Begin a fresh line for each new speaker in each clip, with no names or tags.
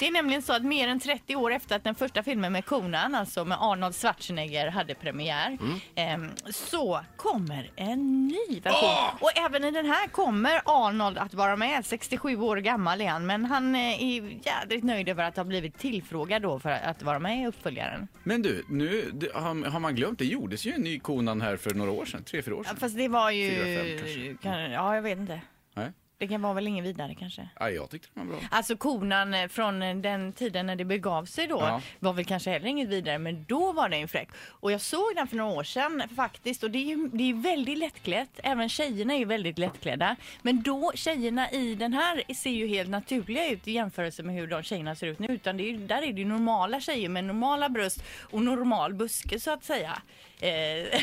Det är nämligen så att mer än 30 år efter att den första filmen med Konan, alltså med Arnold Schwarzenegger, hade premiär, ehm, så kommer en ny version. Och även i den här kommer Arnold att vara med. 67 år gammal är han, men han eh, är jädrigt nöjd över att ha blivit tillfrågad då för att vara med i uppföljaren.
Men du, nu det, har, har man glömt, det gjordes ju en ny Konan här för några år sedan, tre, fyra år
Ja,
sedan.
fast det var ju...
Fyra, fem kanske.
kan, ja, jag vet inte.
Nej,
Det kan vara väl ingen vidare kanske.
Nej, jag tyckte den var bra.
Alltså konan eh, från eh, den tiden när det begav sig då
Ja.
var väl kanske heller inget vidare men då var den ju fräck. Och jag såg den för några år sedan faktiskt och det är ju det är ju väldigt lättklätt. Även tjejerna är ju väldigt lättklädda. Men då, tjejerna i den här ser ju helt naturliga ut i jämförelse med hur de tjejerna ser ut nu. Utan det är, ju- där är det ju normala tjejer med normala bröst och normal buske så att säga. Eh,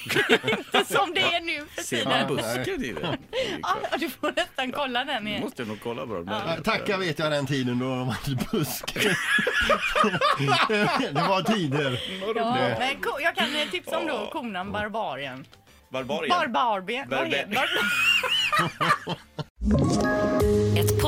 inte som det är nu för
Ser man
tiden.
busken i det?
Ja, du får nästan kolla den
Nu
igen.
måste jag nog kolla på den.
Ja, Tacka vet jag den tiden då de hade busk. det var tider.
Ja, men ko- jag kan eh, tipsa om då konan Barbarien.
Barbarien.
Barbarben. vad
Barbe-
heter- Barbar-
Ett